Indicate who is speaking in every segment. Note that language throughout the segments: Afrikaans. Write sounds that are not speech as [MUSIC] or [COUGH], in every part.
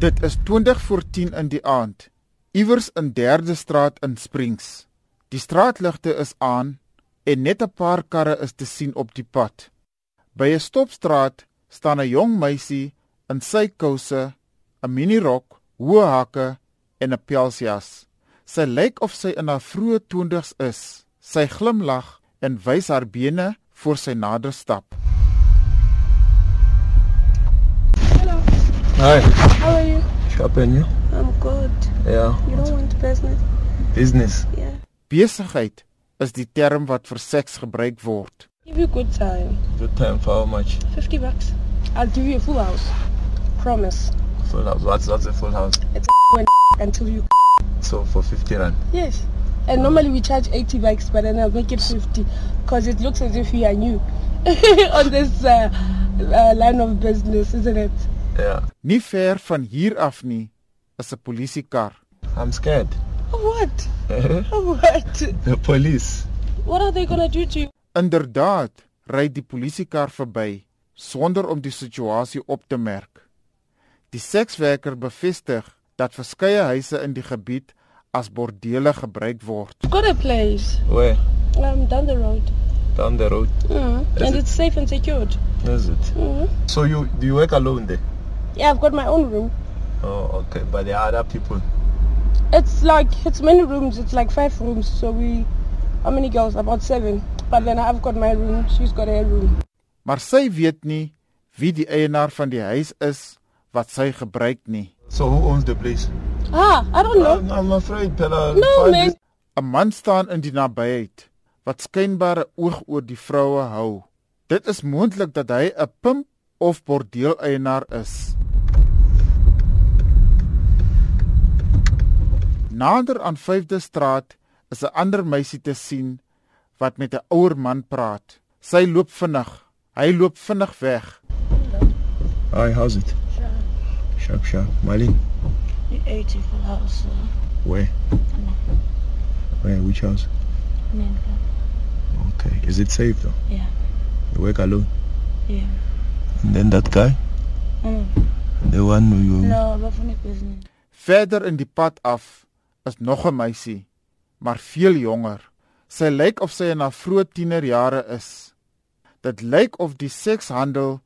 Speaker 1: Dit is 20 voor 10 in die aand. Iewers in Derde Straat in Springs. Die straatligte is aan en net 'n paar karre is te sien op die pad. By 'n stopstraat staan 'n jong meisie in sy kouse, 'n minirok, hoë hakke en 'n pelsjas. Sy lyk of sy in haar vroeë 20's is. Sy glimlag en wys haar bene voor sy nader stap.
Speaker 2: Hello,
Speaker 3: Hi,
Speaker 2: how are you?
Speaker 3: shopping you?
Speaker 2: I'm good.
Speaker 3: Yeah.
Speaker 2: You don't want business?
Speaker 3: Business.
Speaker 2: Yeah.
Speaker 1: Besigheid is die term wat vir seks gebruik word.
Speaker 2: Give you good time.
Speaker 3: Good time for how much?
Speaker 2: 50 bucks. I'll give you a full house. Promise.
Speaker 3: Full house. What's that's a full house?
Speaker 2: [LAUGHS] Until you.
Speaker 3: So for 50 rand.
Speaker 2: Yes. And normally we charge 80 bucks, but then I'll make it 50 because it looks as if we are new [LAUGHS] on this uh, uh, line of business, isn't it?
Speaker 3: Yeah.
Speaker 1: Nie ver van hier af nie is 'n polisiekar.
Speaker 3: I'm scared. [LAUGHS]
Speaker 2: Of what?
Speaker 3: the
Speaker 2: Of what?
Speaker 3: police.
Speaker 2: What are they gonna do to you?
Speaker 1: Inderdaad, ry die polisiekar verby sonder om die situasie op te merk. Die sekswerker bevestig dat verskeie huise in die gebied as bordele gebruik word.
Speaker 2: I've got a place
Speaker 3: Where?
Speaker 2: um, down the road.
Speaker 3: Down the road.
Speaker 2: Mm.
Speaker 3: Is
Speaker 2: And
Speaker 3: it-
Speaker 2: it's safe and secured.
Speaker 3: Is it?
Speaker 2: Mm.
Speaker 3: So you do you work alone there?
Speaker 2: Yeah, I've got my own room.
Speaker 3: Oh, okay. But there are other people.
Speaker 2: It's like it's many rooms. It's like five rooms. So we, how many girls? About seven. But then I've got my room. She's got her room.
Speaker 1: Maar sy weet nie wie die eienaar van die huis is wat sy gebruik nie.
Speaker 3: So who owns the place?
Speaker 2: Ah, I don't
Speaker 4: Um,
Speaker 2: know.
Speaker 3: I'm, I'm afraid, Pella.
Speaker 2: No,
Speaker 3: Find
Speaker 2: man.
Speaker 3: this-
Speaker 1: 'n Man staan in die nabyheid wat skynbare oog oor die vroue hou. Dit is moontlik dat hy 'n pimp of bordeeleienaar is. Nader aan 5de straat is 'n ander meisie te sien wat met 'n ouer man praat. Sy loop vinnig. Hy loop vinnig weg.
Speaker 3: Hi, how's it? Sharp, sharp. Malin.
Speaker 4: You ate it for house,
Speaker 3: Where? Where? Which house? Okay. Is it safe though?
Speaker 4: Yeah.
Speaker 3: You work alone?
Speaker 4: Yeah.
Speaker 3: And then that guy?
Speaker 4: Mm.
Speaker 3: The one who you...
Speaker 4: No, not for any business.
Speaker 1: Verder in die pad af is nog 'n meisie, maar veel jonger. Sy lyk of sy in haar vroeë tienerjare is. Dit lyk of die sekshandel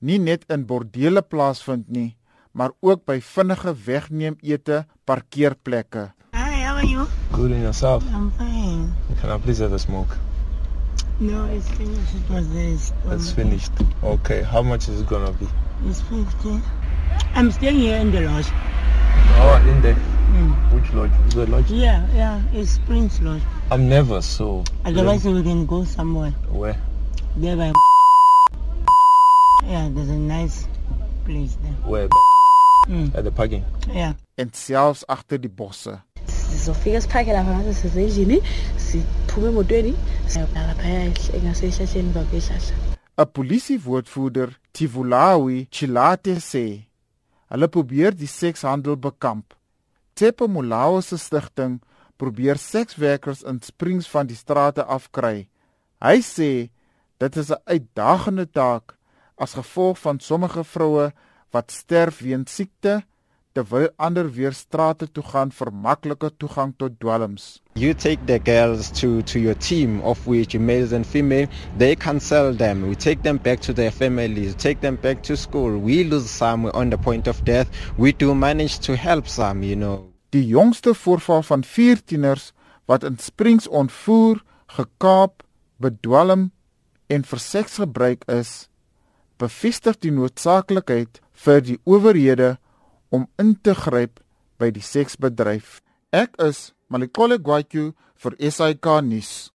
Speaker 1: nie net in bordele plaasvind nie, maar ook by vinnige wegneemete parkeerplekke.
Speaker 4: Hi, how are you?
Speaker 3: Good in yourself.
Speaker 4: I'm fine.
Speaker 3: Can I please have a smoke?
Speaker 4: No, it's finished. It was this.
Speaker 3: It's finished. Okay, how much is it gonna be?
Speaker 4: It's 50. I'm staying here in the lodge.
Speaker 3: Oh, in the
Speaker 4: Mm.
Speaker 3: which lodge? The lodge.
Speaker 4: Yeah, yeah, it's Prince Lodge.
Speaker 3: I'm nervous, so
Speaker 4: Otherwise, we can go somewhere.
Speaker 3: where?
Speaker 4: There by. Yeah, there's a nice place there.
Speaker 3: Where?
Speaker 4: Mm.
Speaker 3: At the parking.
Speaker 4: Yeah.
Speaker 1: en selfs agter die bosse.
Speaker 5: sizofika siphake lapha ngaze sisendlini siphume emotweni siyabhala phaya engasehlahleni uba kwehlahla
Speaker 1: 'n Polisiewoordvoerder, Tivulawi Chilate sê, hulle probeer die sekshandel bekamp. Tsepo Molao se stigting probeer sekswerkers in Springs van die strate afkry. Hy sê dit is 'n uitdagende taak as gevolg van sommige vroue wat sterf weens siekte terwyl ander weer strate toe gaan vir makliker toegang tot dwelms.
Speaker 6: You take the girls to, to your team, of which males and female, they can sell them. We take them back to their families, take them back to school. We lose some on the point of death. We do manage to help some, you know.
Speaker 1: die jongste voorval van 14ers wat in Springs ontvoer, gekaap, bedwelm en vir seks gebruik is, bevestig die noodsaaklikheid vir die owerhede om in te gryp by die seksbedryf. Ek is Malikole Gwatyu vir SAK nuus.